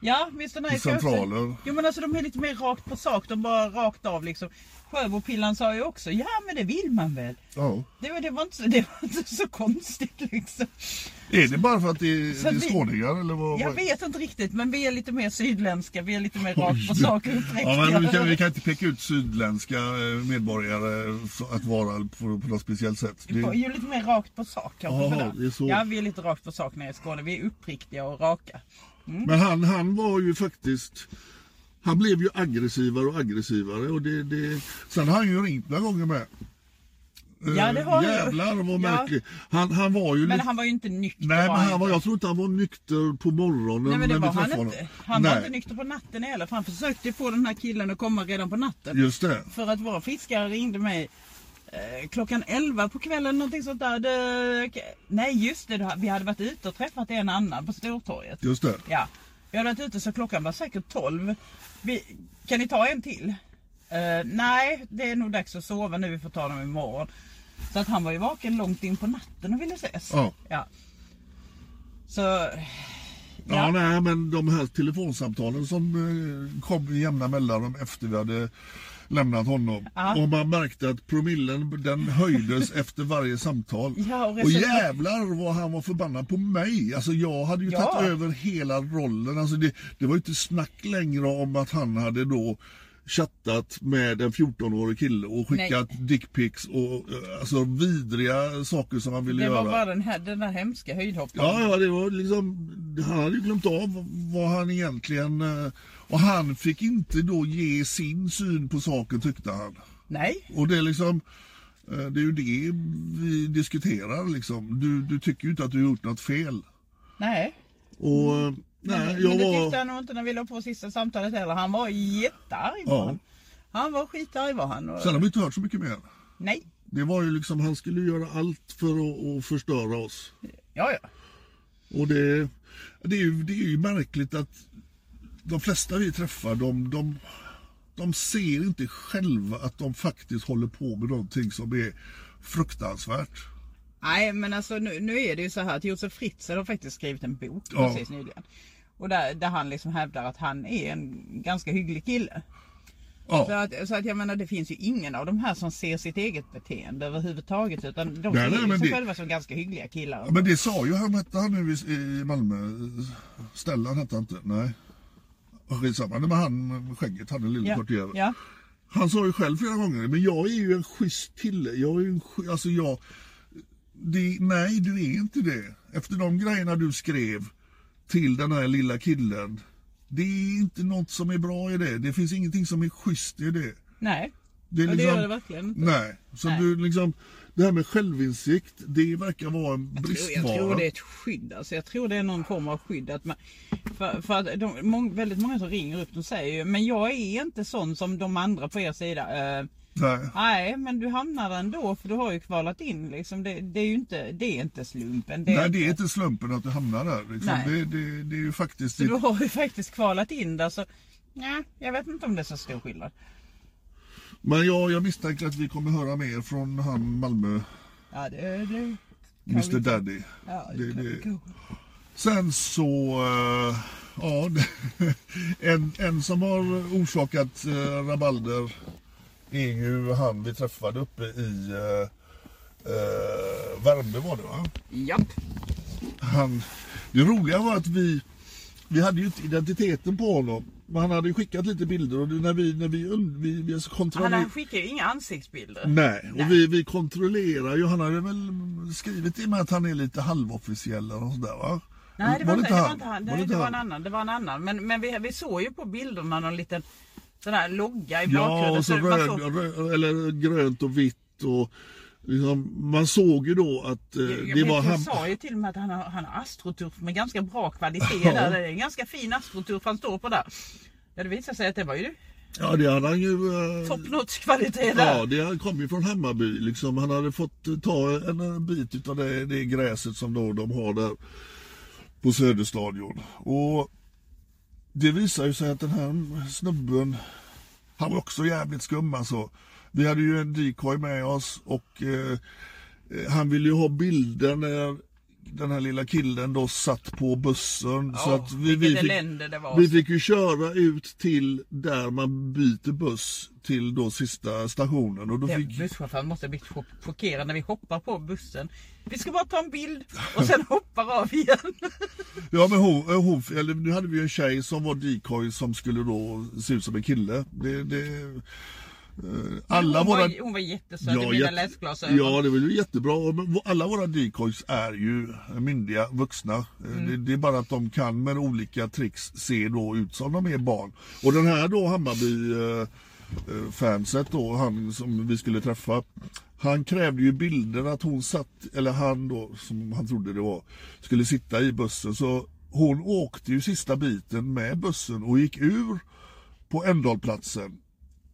Speaker 2: Ja, Mr Nice Guy också.
Speaker 1: centraler.
Speaker 2: Jo men alltså de är lite mer rakt på sak. De bara rakt av liksom. Sjöbopillan sa ju också, ja men det vill man väl.
Speaker 1: Ja.
Speaker 2: Det, var- det, var, inte, så- det var inte så konstigt liksom.
Speaker 1: Är det bara för att det är,
Speaker 2: Så
Speaker 1: det är
Speaker 2: vi-
Speaker 1: skåningar eller vad?
Speaker 2: Jag
Speaker 1: vad-
Speaker 2: vet inte riktigt men vi är lite mer sydländska. Vi är lite mer rakt på
Speaker 1: Oj.
Speaker 2: sak och
Speaker 1: Ja, men vi, kan, vi
Speaker 2: uppräktiga.
Speaker 1: kan inte peka ut sydländska eh, medborgare för att vara på, på något speciellt sätt.
Speaker 2: Vi är
Speaker 1: Det,
Speaker 2: ju lite mer rakt på sak kanske.
Speaker 1: Jaha,
Speaker 2: sådär.
Speaker 1: det är så.
Speaker 2: Ja, vi är lite rakt på sak nere i Skåne. Vi är uppriktiga och raka.
Speaker 1: men han, han var ju faktiskt... Han blev ju aggressivare och aggressivare. Och det, det... Sen har han ju ringt några gånger med.
Speaker 2: Ja, det har
Speaker 1: Eh,
Speaker 2: jag.
Speaker 1: Jävlar vad
Speaker 2: Ja.
Speaker 1: märklig. Han, han var ju...
Speaker 2: Men
Speaker 1: lite-
Speaker 2: han var ju inte nykter.
Speaker 1: Nej, men han var,
Speaker 2: inte.
Speaker 1: jag tror inte han var nykter på morgonen
Speaker 2: Nej men det
Speaker 1: när
Speaker 2: var
Speaker 1: vi träffade
Speaker 2: han
Speaker 1: honom.
Speaker 2: inte. Han
Speaker 1: Nej,
Speaker 2: var inte nykter på natten heller. För han försökte ju få den här killen att komma redan på natten.
Speaker 1: Just det.
Speaker 2: För att våra fiskare ringde mig eh, klockan 11 på kvällen någonting sånt där. Du, nej just det, vi hade varit ute och träffat en annan på Stortorget.
Speaker 1: Just det.
Speaker 2: Ja, vi hade varit ute så klockan var säkert 12. Vi, kan ni ta en till? Eh, nej, det är nog dags att sova nu. Vi får ta dem imorgon. Så att han var ju vaken långt in på natten och ville ses.
Speaker 1: Ja.
Speaker 2: ja. Så...
Speaker 1: Ja,
Speaker 2: Ja.
Speaker 1: nej, men de här telefonsamtalen som eh, kom i jämna mellanrum efter vi hade lämnat honom.
Speaker 2: Ja.
Speaker 1: Och man märkte att promillen den
Speaker 2: *laughs*
Speaker 1: höjdes efter varje samtal.
Speaker 2: Ja, och
Speaker 1: och
Speaker 2: resultat-
Speaker 1: jävlar vad han var förbannad på mig. Alltså jag hade ju
Speaker 2: Ja.
Speaker 1: tagit över hela rollen. Alltså det, det var ju inte snack längre om att han hade då chattat med en 14-årig kille och skickat dickpics och eh, alltså vidriga saker som han ville
Speaker 2: Det
Speaker 1: göra.
Speaker 2: var bara den här, den där hemska höjdhopparen.
Speaker 1: Ja, ja, det var liksom... Han hade ju glömt av vad han egentligen... eh, Och han fick inte då ge sin syn på saken tyckte han.
Speaker 2: Nej,
Speaker 1: Och det är liksom... eh, Det är ju det vi diskuterar liksom. Du, du tycker ju inte att du har gjort något fel.
Speaker 2: nej.
Speaker 1: Och... eh, Nej, jag
Speaker 2: Mm. men det tyckte
Speaker 1: var...
Speaker 2: han nog inte när vi låg på sista samtalet heller. Han var jättearg var
Speaker 1: Ja.
Speaker 2: han. Han var skitarg var han. Och,
Speaker 1: Sen har vi inte hört så mycket mer.
Speaker 2: Nej,
Speaker 1: Det var ju liksom, han skulle göra allt för att, att förstöra oss.
Speaker 2: ja ja.
Speaker 1: Och det, det, är ju, det är ju märkligt att de flesta vi träffar, de, de, de ser inte själva att de faktiskt håller på med någonting som är fruktansvärt.
Speaker 2: Nej men alltså nu, nu är det ju så här att Josef Fritzl har faktiskt skrivit en bok
Speaker 1: Ja.
Speaker 2: precis nyligen. Och där, där han liksom hävdar att han är en ganska hygglig kille. Så
Speaker 1: Ja,
Speaker 2: att, så att jag menar det finns ju ingen av de här som ser sitt eget beteende överhuvudtaget utan de
Speaker 1: Nej,
Speaker 2: ser
Speaker 1: nej,
Speaker 2: ju
Speaker 1: men
Speaker 2: sig
Speaker 1: det-
Speaker 2: själva som ganska hyggliga killar.
Speaker 1: men det sa ju han, hette han nu i, i Malmö? Stellan hette han inte? Nej. Skitsamma, Nej, men han med skägget, han den lille
Speaker 2: ja,
Speaker 1: kortjäveln.
Speaker 2: ja.
Speaker 1: Han sa ju själv flera gånger, men jag är ju en schysst kille. Jag är ju en schy- alltså jag... Det, nej, du är inte det. Efter de grejerna du skrev till den här lilla killen. Det är inte något som är bra i det. Det finns ingenting som är schysst i det.
Speaker 2: Nej.
Speaker 1: Det, är liksom-
Speaker 2: Ja, det gör det verkligen inte.
Speaker 1: Nej. Så
Speaker 2: Nej.
Speaker 1: Du, liksom, det här med självinsikt, det verkar vara en
Speaker 2: Jag tror, jag
Speaker 1: bristvara.
Speaker 2: tror det är ett skydd. Alltså jag tror det är någon form av skydd. Att man, för, för att de, mång, väldigt många som ringer upp de säger ju men jag är inte sån som de andra på er sida. Eh,
Speaker 1: Nej.
Speaker 2: nej men du hamnar där ändå för du har ju kvalat in liksom. Det, det är ju inte, det är inte slumpen. Det är
Speaker 1: Nej, det är
Speaker 2: inte-
Speaker 1: inte slumpen att du hamnar där. Liksom.
Speaker 2: Nej.
Speaker 1: Det, det, det är ju faktiskt...
Speaker 2: Så du har ju faktiskt kvalat in där så nej jag vet inte om det är så stor skillnad.
Speaker 1: Men ja, jag misstänker att vi kommer höra mer från han Malmö,
Speaker 2: Ja det, det,
Speaker 1: Mr Daddy.
Speaker 2: ja,
Speaker 1: Det- det-
Speaker 2: cool.
Speaker 1: Sen så, eh, ja, *laughs* en, en som har orsakat eh, rabalder är ju han vi träffade uppe i eh, eh, Värmdö var det va?
Speaker 2: Japp.
Speaker 1: han, det roliga var att vi, vi hade ju inte identiteten på honom. Men han hade ju skickat lite bilder och det- när vi, när vi, und- vi, vi
Speaker 2: Han
Speaker 1: kontrollerade...
Speaker 2: han skickar ju inga ansiktsbilder.
Speaker 1: Nej, och vi, vi kontrollerar ju. Han hade väl skrivit i med att han är lite halvofficiell eller något sådär va?
Speaker 2: Nej det var, inte, det var inte han.
Speaker 1: Var
Speaker 2: Nej,
Speaker 1: inte
Speaker 2: det var
Speaker 1: han?
Speaker 2: en annan. Det var en annan. Men, men vi, vi såg ju på bilderna någon liten sån här logga i
Speaker 1: Ja,
Speaker 2: bakgrunden.
Speaker 1: och så
Speaker 2: man
Speaker 1: röd,
Speaker 2: såg-
Speaker 1: rö- eller grönt och vitt. Och, liksom, man såg ju då att eh,
Speaker 2: jag,
Speaker 1: det
Speaker 2: vet,
Speaker 1: var
Speaker 2: jag
Speaker 1: han.
Speaker 2: sa ju till och med att han har, han har astroturf med ganska bra kvalitet
Speaker 1: Ja.
Speaker 2: där. Det är en ganska fin astroturf han står på där. Ja, det visade sig att det var ju
Speaker 1: Ja, det hade han ju. eh,
Speaker 2: top notch kvalitet där.
Speaker 1: Ja, det kom ju från Hammarby. Liksom. Han hade fått ta en, en bit av det, det gräset som då de har där på Söderstadion. Och det visar ju sig att den här snubben, han var också jävligt skum alltså. Vi hade ju en decoy med oss och eh, han ville ju ha bilder när den här lilla killen då satt på bussen. så
Speaker 2: Åh,
Speaker 1: att vi, vi,
Speaker 2: vilket
Speaker 1: fick,
Speaker 2: elände det var.
Speaker 1: vi fick ju köra ut till där man byter buss till då sista stationen. Och då
Speaker 2: Den
Speaker 1: fick,
Speaker 2: busschauffören måste ha blivit chock- chockerad när vi hoppar på bussen. Vi ska bara ta en bild och
Speaker 1: *laughs*
Speaker 2: sen hoppar av igen.
Speaker 1: ja, men hon, eh, hon, eller, nu hade vi ju en tjej som var decoy som skulle då se ut som en kille. Det, det, eh, alla
Speaker 2: hon,
Speaker 1: våra...
Speaker 2: var, hon var jättesöt i mina
Speaker 1: jätte-
Speaker 2: läsglasögon.
Speaker 1: ja, det var ju jättebra. Men v- Alla våra decoys är ju myndiga vuxna. Eh,
Speaker 2: Mm.
Speaker 1: Det, det är bara att de kan med olika tricks se då ut som de är barn. Och den här då Hammarby eh, eh, fanset då, han som vi skulle träffa. Han krävde ju bilder att hon satt, eller han då, som han trodde det var, skulle sitta i bussen. Så hon åkte ju sista biten med bussen och gick ur på Ändahlplatsen.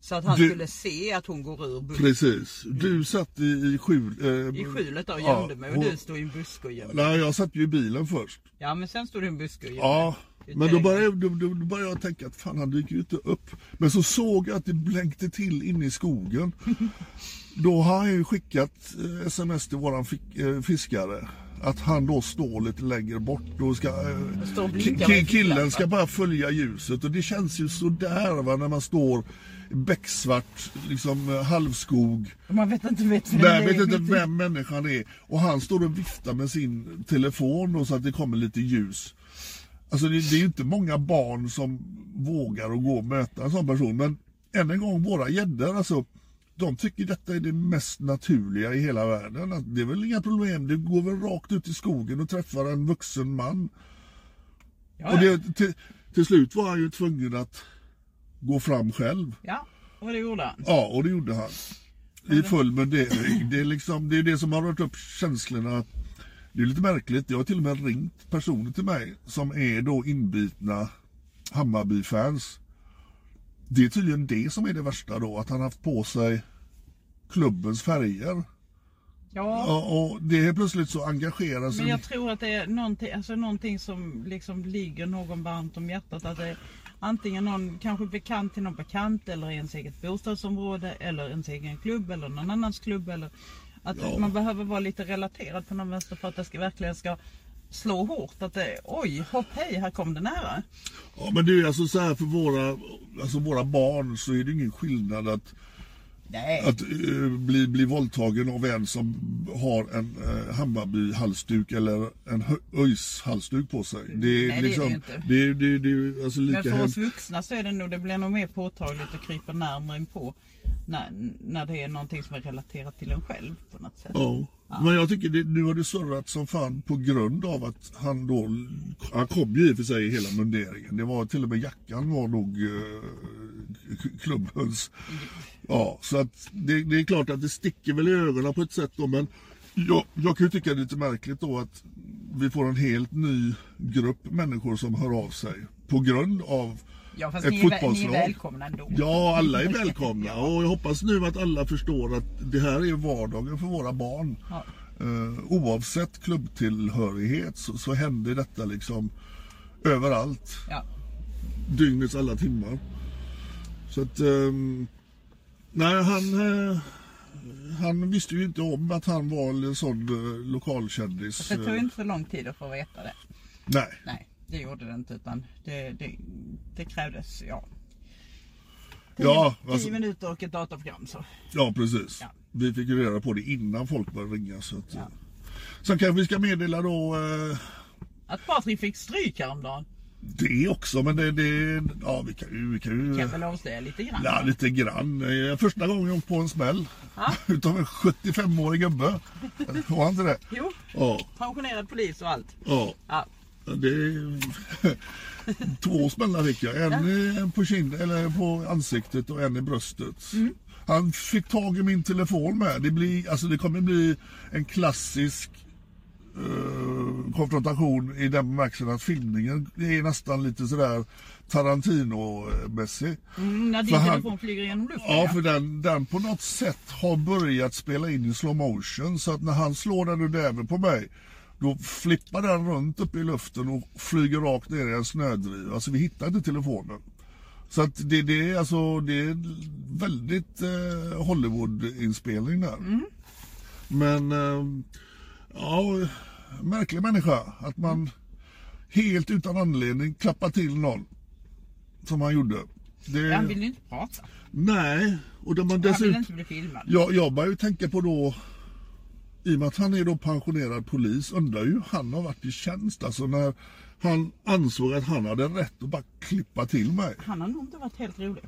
Speaker 2: Så att han
Speaker 1: Du-
Speaker 2: skulle se att hon går ur bussen.
Speaker 1: Precis. Du satt i, i skjul... eh,
Speaker 2: I skjulet där och
Speaker 1: ja,
Speaker 2: gömde mig och du stod i en buske och gömde dig.
Speaker 1: Nej, jag satt ju i bilen först.
Speaker 2: Ja men sen stod du i en buske och gömde
Speaker 1: Ja,
Speaker 2: dig.
Speaker 1: men då började, jag- då, då, då började jag tänka att fan han dyker ju inte upp. Men så såg jag att det blänkte till inne
Speaker 2: *laughs*
Speaker 1: i skogen. då har han ju skickat eh, sms till våran fick, eh, fiskare. Att han då står lite längre bort. Då ska, eh,
Speaker 2: Står och blinkar
Speaker 1: ki-
Speaker 2: med
Speaker 1: ki-
Speaker 2: sin
Speaker 1: killen
Speaker 2: lampa.
Speaker 1: ska bara följa ljuset och det känns ju sådär va, när man står i becksvart liksom, eh, halvskog.
Speaker 2: Man vet inte *laughs* vet vem
Speaker 1: Nej, jag
Speaker 2: det
Speaker 1: vet
Speaker 2: är
Speaker 1: inte
Speaker 2: mitt i-
Speaker 1: vem människan är. Och han står och viftar med sin telefon då, så att det kommer lite ljus. Alltså det, det är ju inte många barn som vågar att gå och möta en sån person. Men än en gång, våra gäddor alltså. De tycker detta är det mest naturliga i hela världen. Att det är väl inga problem. Du går väl rakt ut i skogen och träffar en vuxen man.
Speaker 2: Ja,
Speaker 1: Och det, till, till slut var han ju tvungen att gå fram själv.
Speaker 2: ja, och det gjorde han.
Speaker 1: Ja, och det gjorde han. I full mundering. Det är, liksom, det är det som har rört upp känslorna. Det är lite märkligt. Jag har till och med ringt personer till mig som är då inbitna Hammarby-fans. Det är tydligen det som är det värsta då, att han har haft på sig klubbens färger.
Speaker 2: Ja,
Speaker 1: Ja, och det är plötsligt så engagerar sig.
Speaker 2: men jag tror att det är någonting, alltså någonting som liksom ligger någon varmt om hjärtat. Att det är antingen någon kanske bekant till någon bekant eller i ens eget bostadsområde eller ens egen klubb eller någon annans klubb. Eller att man behöver vara lite relaterad på någon vänster för att det ska, verkligen ska slå hårt. Att det, oj, hopp hej, här kom det nära.
Speaker 1: Ja, men det är alltså så här för våra, alltså våra barn så är det ingen skillnad att
Speaker 2: Nej.
Speaker 1: Att eh, bli, bli våldtagen av en som har en eh, Hammarby-halsduk eller en Hö- ÖIS-halsduk på sig. Det
Speaker 2: Nej,
Speaker 1: är
Speaker 2: det är
Speaker 1: liksom,
Speaker 2: det inte.
Speaker 1: det är, det är, det är alltså lika
Speaker 2: Men för oss
Speaker 1: hemskt.
Speaker 2: vuxna så är det nog, det blir nog mer påtagligt och kryper närmare in på när, när det är någonting som är relaterat till en själv på något sätt.
Speaker 1: Ja. Men jag tycker det, nu har det surrat som fan på grund av att han då, han kom ju i och för sig i hela munderingen. Det var till och med jackan var nog eh, k- klubbens. Ja, så att det, det är klart att det sticker väl i ögonen på ett sätt då men jag, jag kan ju tycka det är lite märkligt då att vi får en helt ny grupp människor som hör av sig på grund av
Speaker 2: Ja fast
Speaker 1: ett
Speaker 2: ni är, väl- ni är
Speaker 1: fotbollslag.
Speaker 2: välkomna ändå.
Speaker 1: Ja, alla är
Speaker 2: *laughs*
Speaker 1: välkomna och jag hoppas nu att alla förstår att det här är vardagen för våra barn.
Speaker 2: Ja.
Speaker 1: Eh, oavsett klubbtillhörighet så, så händer detta liksom överallt,
Speaker 2: Ja.
Speaker 1: dygnets alla timmar. Så att, ehm, nej han, eh, han visste ju inte om att han var en sån eh,
Speaker 2: Fast
Speaker 1: lokalkändis.
Speaker 2: Det tog
Speaker 1: eh,
Speaker 2: inte så lång tid att få veta det.
Speaker 1: nej.
Speaker 2: Nej, det gjorde det inte utan det, det, det krävdes, ja.
Speaker 1: Ja,
Speaker 2: Tio
Speaker 1: alltså-
Speaker 2: minuter och ett datorprogram så.
Speaker 1: Ja, precis.
Speaker 2: Ja.
Speaker 1: Vi fick ju reda på det innan folk började ringa. Så att, eh,
Speaker 2: Ja.
Speaker 1: Sen kanske vi ska meddela då eh,
Speaker 2: Att Patrik fick stryk häromdagen
Speaker 1: det också, men det... det ja, vi kan ju... Vi kan ju
Speaker 2: kan väl avslöja lite grann.
Speaker 1: ja, lite grann. Eh, Första gången jag åkte på en smäll.
Speaker 2: Ja.
Speaker 1: *laughs* Utav en
Speaker 2: *laughs*
Speaker 1: 75-årig gubbe. Var han inte det?
Speaker 2: Jo,
Speaker 1: Ja.
Speaker 2: pensionerad polis och allt.
Speaker 1: ja.
Speaker 2: Ja,
Speaker 1: Det, *laughs* två smällar fick jag. En eh, på, kind, eller på ansiktet och en i bröstet. Han fick tag i min telefon med. Det, blir, alltså det kommer bli en klassisk eh, konfrontation i den bemärkelsen att filmningen är nästan lite sådär Tarantino-mässig.
Speaker 2: mm, när din
Speaker 1: För han-
Speaker 2: telefon flyger genom luften.
Speaker 1: Ja, för den, den på något sätt har börjat spela in i slow motion så att när han slår den ur näven på mig då flippar den runt upp i luften och flyger rakt ner i en snödriva. Alltså vi hittar inte telefonen. Så att det, det, är, alltså, det är en väldigt eh, Hollywood-inspelning där. Men eh, ja, märklig människa att man helt utan anledning klappar till någon som han gjorde. Det-
Speaker 2: Han ville ju inte prata.
Speaker 1: Nej, och de har
Speaker 2: Han ville
Speaker 1: dessutom...
Speaker 2: inte bli filmad.
Speaker 1: Jag, jag börjar ju tänka på då... I och med att han är då pensionerad polis undrar ju hur han har varit i tjänst. Alltså när han ansåg att han hade rätt att bara klippa till mig.
Speaker 2: Han har nog inte varit helt rolig.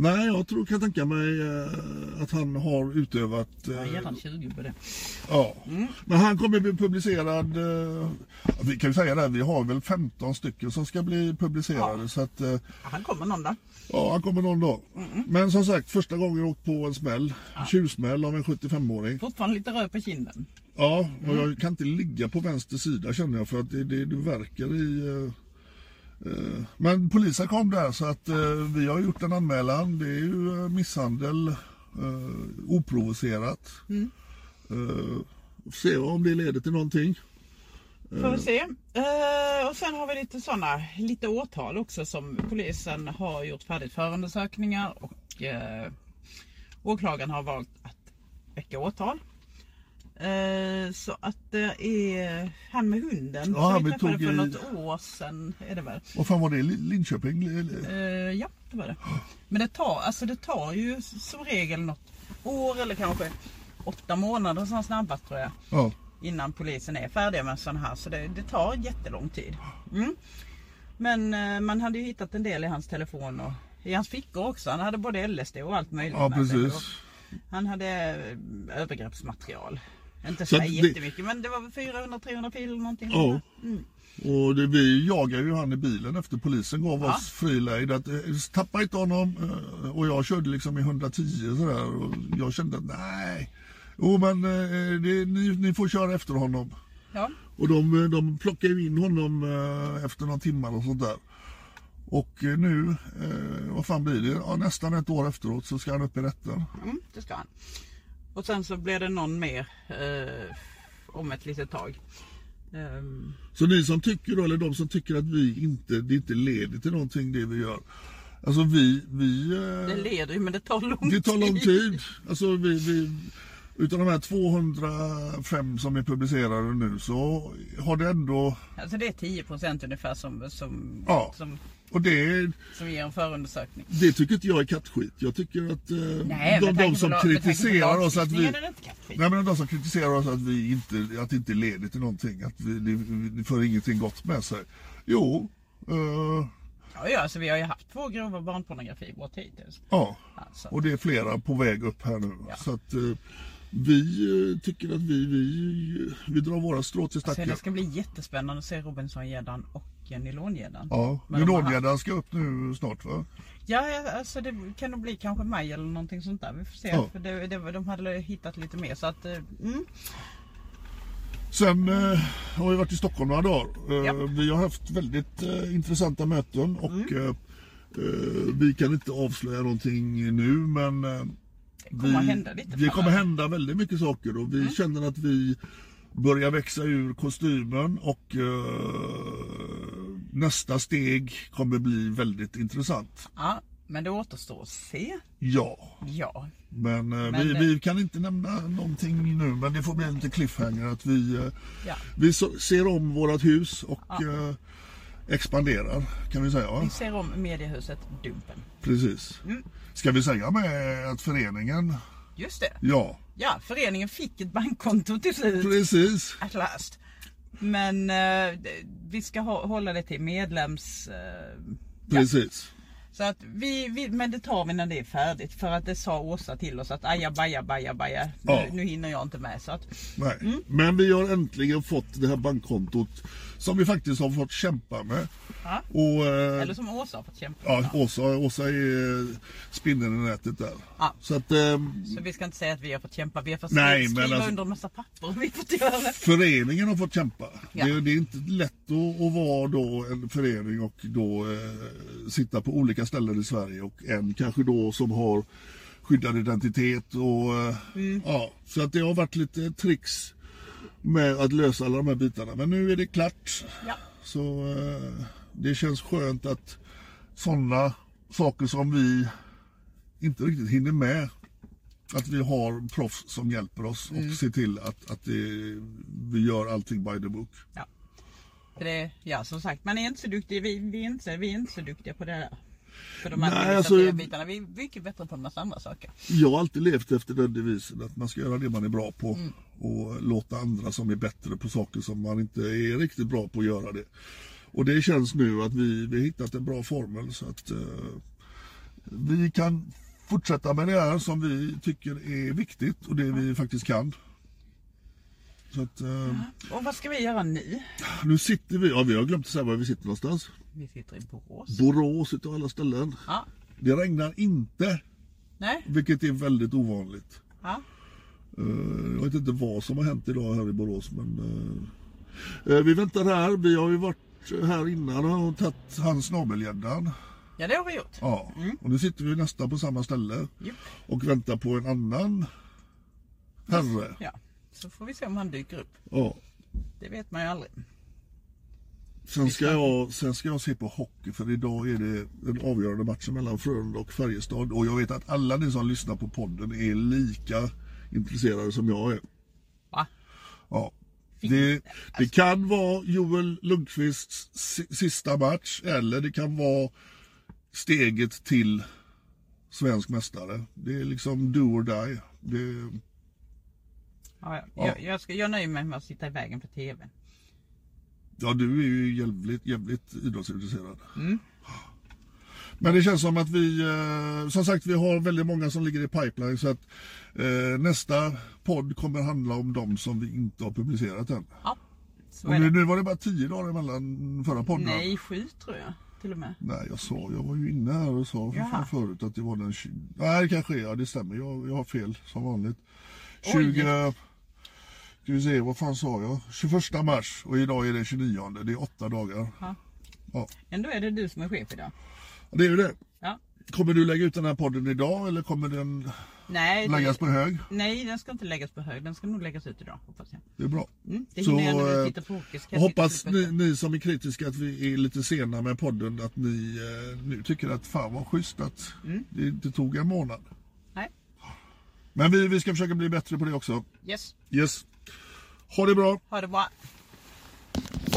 Speaker 1: Nej, jag tror, kan tänka mig eh, att han har utövat... eh,
Speaker 2: Jag ger han Mm. 20 på det.
Speaker 1: Ja. Men han kommer bli publicerad. Eh, vi kan ju säga det, här, vi har väl 15 stycken som ska bli publicerade. Så att, eh,
Speaker 2: Han kommer någon dag.
Speaker 1: Ja, han kommer någon dag. Men som sagt, första gången jag åkt på en smäll, tjuvsmäll av en 75-åring.
Speaker 2: Fortfarande lite röd på kinden.
Speaker 1: Ja, och jag kan inte ligga på vänster sida känner jag för att det, det, det verkar i... eh, eh, men polisen kom där så att eh, vi har gjort en anmälan. Det är ju eh, misshandel, eh, oprovocerat. Eh, får se om det leder till någonting.
Speaker 2: Får vi se. Eh, och sen har vi lite sådana, lite åtal också som polisen har gjort färdigt förundersökningar och eh, åklagaren har valt att väcka åtal. Eh, så att det är han med hunden
Speaker 1: Ja,
Speaker 2: som vi
Speaker 1: han vi
Speaker 2: träffade
Speaker 1: tog
Speaker 2: för
Speaker 1: i-
Speaker 2: något år sedan är det väl.
Speaker 1: Vad fan var det? Lin- Linköping? Eller-
Speaker 2: Eh, ja, det var det. Men det tar, alltså det tar ju som regel något år eller kanske åtta månader som snabbast tror jag
Speaker 1: Ja.
Speaker 2: innan polisen är färdiga med sån här. Så det, det tar jättelång tid. Mm. Men eh, man hade ju hittat en del i hans telefon och i hans fickor också. Han hade både LSD och allt möjligt
Speaker 1: ja,
Speaker 2: med sig. Och
Speaker 1: precis.
Speaker 2: Han hade eh, övergreppsmaterial. Inte
Speaker 1: Så
Speaker 2: så,
Speaker 1: att
Speaker 2: här
Speaker 1: det-
Speaker 2: jättemycket men det var väl 400-300 filer någonting.
Speaker 1: Ja. Och det, vi jagade ju han i bilen efter polisen gav oss fri lejd. att, eh, Tappa inte honom. eh, Och jag körde liksom i 110 sådär. Och jag kände att nej. Jo men eh, det, ni, ni får köra efter honom.
Speaker 2: Ja.
Speaker 1: Och de, eh, de plockade ju in honom eh, efter några timmar och sånt där. Och eh, nu, eh, vad fan blir det? Ja, nästan ett år efteråt så ska han upp i rätten.
Speaker 2: Mm, det ska han. Och sen så blev det någon mer eh, om ett litet tag. Ehm,
Speaker 1: Så ni som tycker då, eller de som tycker att vi inte, det inte leder till någonting det vi gör. Alltså vi, vi... eh,
Speaker 2: det leder ju men det tar lång
Speaker 1: Det tar lång tid. Alltså vi, vi, utav de här 205 som är publicerade nu så har det ändå...
Speaker 2: Alltså det är 10 ungefär som, som,
Speaker 1: Ja.
Speaker 2: som
Speaker 1: Och det,
Speaker 2: som ger en förundersökning.
Speaker 1: det tycker inte jag är kattskit. Jag tycker att eh,
Speaker 2: Nej,
Speaker 1: de,
Speaker 2: med
Speaker 1: de
Speaker 2: tanke
Speaker 1: som
Speaker 2: på la- med tanke på
Speaker 1: kritiserar oss att vi...
Speaker 2: lagstiftningen är det inte kattskit.
Speaker 1: Nej, men de som kritiserar oss att vi inte, att det inte leder till någonting, att vi, det, det för ingenting gott med sig. Jo, eh,
Speaker 2: Ja, ja, alltså, vi har ju haft två grova barnpornografibrott hittills.
Speaker 1: ja.
Speaker 2: Alltså.
Speaker 1: Och det är flera på väg upp här nu.
Speaker 2: Ja.
Speaker 1: Så att eh, vi eh, tycker att vi, vi, vi drar våra strå till
Speaker 2: Så
Speaker 1: stacken.
Speaker 2: Alltså, det ska bli jättespännande att se Robinsongäddan och eh, nylongäddan.
Speaker 1: Ja,
Speaker 2: Men de har-
Speaker 1: nylongäddan ska upp nu snart va?
Speaker 2: Ja, ja, alltså det kan nog bli kanske maj eller någonting sånt där. Vi får se.
Speaker 1: Ja.
Speaker 2: För det, det, de hade hittat lite mer så att... eh, Mm.
Speaker 1: Sen eh, har vi varit i Stockholm några dagar. Eh,
Speaker 2: Japp.
Speaker 1: Vi har haft väldigt eh, intressanta möten och
Speaker 2: Mm.
Speaker 1: eh, eh, vi kan inte avslöja någonting nu men eh,
Speaker 2: kommer hända lite
Speaker 1: det kommer
Speaker 2: framöver. Mm.
Speaker 1: hända väldigt mycket saker och vi känner att vi börjar växa ur kostymen och eh, nästa steg kommer bli väldigt intressant.
Speaker 2: Ja, men det återstår att se.
Speaker 1: Ja,
Speaker 2: Ja.
Speaker 1: men, eh,
Speaker 2: Men,
Speaker 1: vi,
Speaker 2: eh,
Speaker 1: vi kan inte nämna någonting nu men det får bli en liten cliffhanger att vi eh,
Speaker 2: ja.
Speaker 1: Vi så- ser om vårt hus och eh, expanderar kan vi säga. va?
Speaker 2: Vi ser om mediehuset Dumpen.
Speaker 1: Precis.
Speaker 2: Mm.
Speaker 1: Ska vi säga med att föreningen,
Speaker 2: Just det.
Speaker 1: ja
Speaker 2: Ja, föreningen fick ett bankkonto till slut.
Speaker 1: precis.
Speaker 2: At last. Men eh, det- vi ska hå- hålla det till medlems... Eh, ja.
Speaker 1: Precis.
Speaker 2: Så att vi, vi, men det tar vi när det är färdigt för att det sa Åsa till oss att aja baja baja baja nu,
Speaker 1: Ja.
Speaker 2: nu hinner jag inte med så att
Speaker 1: Nej. Men vi har äntligen fått det här bankkontot som vi faktiskt har fått kämpa med.
Speaker 2: Ja.
Speaker 1: Och, eh,
Speaker 2: Eller som Åsa har fått kämpa
Speaker 1: ja, Åsa, Åsa är eh, spindeln i nätet där.
Speaker 2: Ja.
Speaker 1: Så att eh,
Speaker 2: Så vi ska inte säga att vi har fått kämpa, vi har fått
Speaker 1: Nej,
Speaker 2: skriva
Speaker 1: men alltså-
Speaker 2: under en massa papper. Vi får inte göra det.
Speaker 1: föreningen har fått kämpa.
Speaker 2: Ja.
Speaker 1: Det, det är inte lätt att, att vara då en förening och då eh, sitta på olika ställen i Sverige och en kanske då som har skyddad identitet och eh,
Speaker 2: Mm.
Speaker 1: ja, så att det har varit lite tricks med att lösa alla de här bitarna. Men nu är det klart.
Speaker 2: Ja.
Speaker 1: Så eh, det känns skönt att sådana saker som vi inte riktigt hinner med att vi har proffs som hjälper oss och ser till att, att det, vi gör allting by the book.
Speaker 2: Ja. För det. Ja, som sagt, man är inte så duktig. Vi, vi, är, inte, så- vi är inte så duktiga på det där. För de
Speaker 1: Nej,
Speaker 2: administrativa
Speaker 1: alltså-
Speaker 2: bitarna. Vi är mycket bättre på en massa andra saker.
Speaker 1: Jag har alltid levt efter den devisen att man ska göra det man är bra på och låta andra som är bättre på saker som man inte är riktigt bra på göra det. Och det känns nu att vi, vi har hittat en bra formel så att eh, vi kan fortsätta med det här som vi tycker är viktigt och det vi faktiskt kan. Så att, eh,
Speaker 2: Och vad ska vi göra nu?
Speaker 1: nu sitter vi, ja vi har glömt att säga var vi sitter någonstans.
Speaker 2: Vi sitter i Borås.
Speaker 1: Borås utav alla ställen.
Speaker 2: Ja.
Speaker 1: Det regnar inte,
Speaker 2: Nej?
Speaker 1: vilket är väldigt ovanligt.
Speaker 2: Ja.
Speaker 1: Eh, Jag vet inte vad som har hänt idag här i Borås, men... eh, eh, Vi väntar här. Vi har ju varit här innan och tagit hans snabelgäddan.
Speaker 2: Ja, det har vi gjort.
Speaker 1: Ja, och nu sitter vi nästan på samma ställe
Speaker 2: Japp.
Speaker 1: och väntar på en annan herre.
Speaker 2: Ja. Så får vi se om han dyker upp.
Speaker 1: Ja.
Speaker 2: Det vet man ju aldrig.
Speaker 1: Sen ska, jag, sen ska jag se på hockey för idag är det den avgörande matchen mellan Frölunda och Färjestad. Och jag vet att alla ni som lyssnar på podden är lika intresserade som jag är.
Speaker 2: Va?
Speaker 1: Ja. Det, det kan vara Joel Lundqvists si- sista match eller det kan vara steget till svensk mästare. Det är liksom do or die. Det,
Speaker 2: Ja, ja.
Speaker 1: Ja.
Speaker 2: Jag, jag, ska, jag nöjer mig med att sitta i vägen för TV.
Speaker 1: Ja, du är ju jävligt, jävligt idrottsintresserad.
Speaker 2: Mm.
Speaker 1: Men det känns som att vi, eh, som sagt, vi har väldigt många som ligger i pipeline så att eh, nästa podd kommer handla om de som vi inte har publicerat än.
Speaker 2: Ja, så
Speaker 1: Och
Speaker 2: är
Speaker 1: nu,
Speaker 2: det.
Speaker 1: nu var det bara tio dagar emellan förra podden.
Speaker 2: Nej, sju tror jag till och med.
Speaker 1: Nej, jag sa, jag var ju inne här och sa för
Speaker 2: Jaha.
Speaker 1: fan förut att det var den 20... Nej, det kanske är, ja det stämmer. Jag, jag har fel som vanligt.
Speaker 2: Oj.
Speaker 1: 20... Ska vi se, vad fan sa jag? 21 mars och idag är det 29. Det är åtta dagar.
Speaker 2: Ja.
Speaker 1: Ja.
Speaker 2: Ändå är det du som är chef idag.
Speaker 1: Det är ju det.
Speaker 2: Ja.
Speaker 1: Kommer du lägga ut den här podden idag eller kommer den
Speaker 2: Nej, det-
Speaker 1: läggas på hög?
Speaker 2: Nej, den ska inte läggas på hög. Den ska nog läggas ut idag, hoppas jag.
Speaker 1: Det är bra.
Speaker 2: Mm, det hinner jag när vi tittar på hockey, ska
Speaker 1: jag
Speaker 2: jag
Speaker 1: hoppas
Speaker 2: titta på
Speaker 1: ni,
Speaker 2: det.
Speaker 1: ni som är kritiska att vi är lite sena med podden att ni eh, nu tycker att fan vad schysst att
Speaker 2: Mm.
Speaker 1: det inte tog en månad.
Speaker 2: Nej.
Speaker 1: Men vi, vi ska försöka bli bättre på det också.
Speaker 2: Yes,
Speaker 1: Yes. Ha det bra.
Speaker 2: ha det bra.
Speaker 3: Hello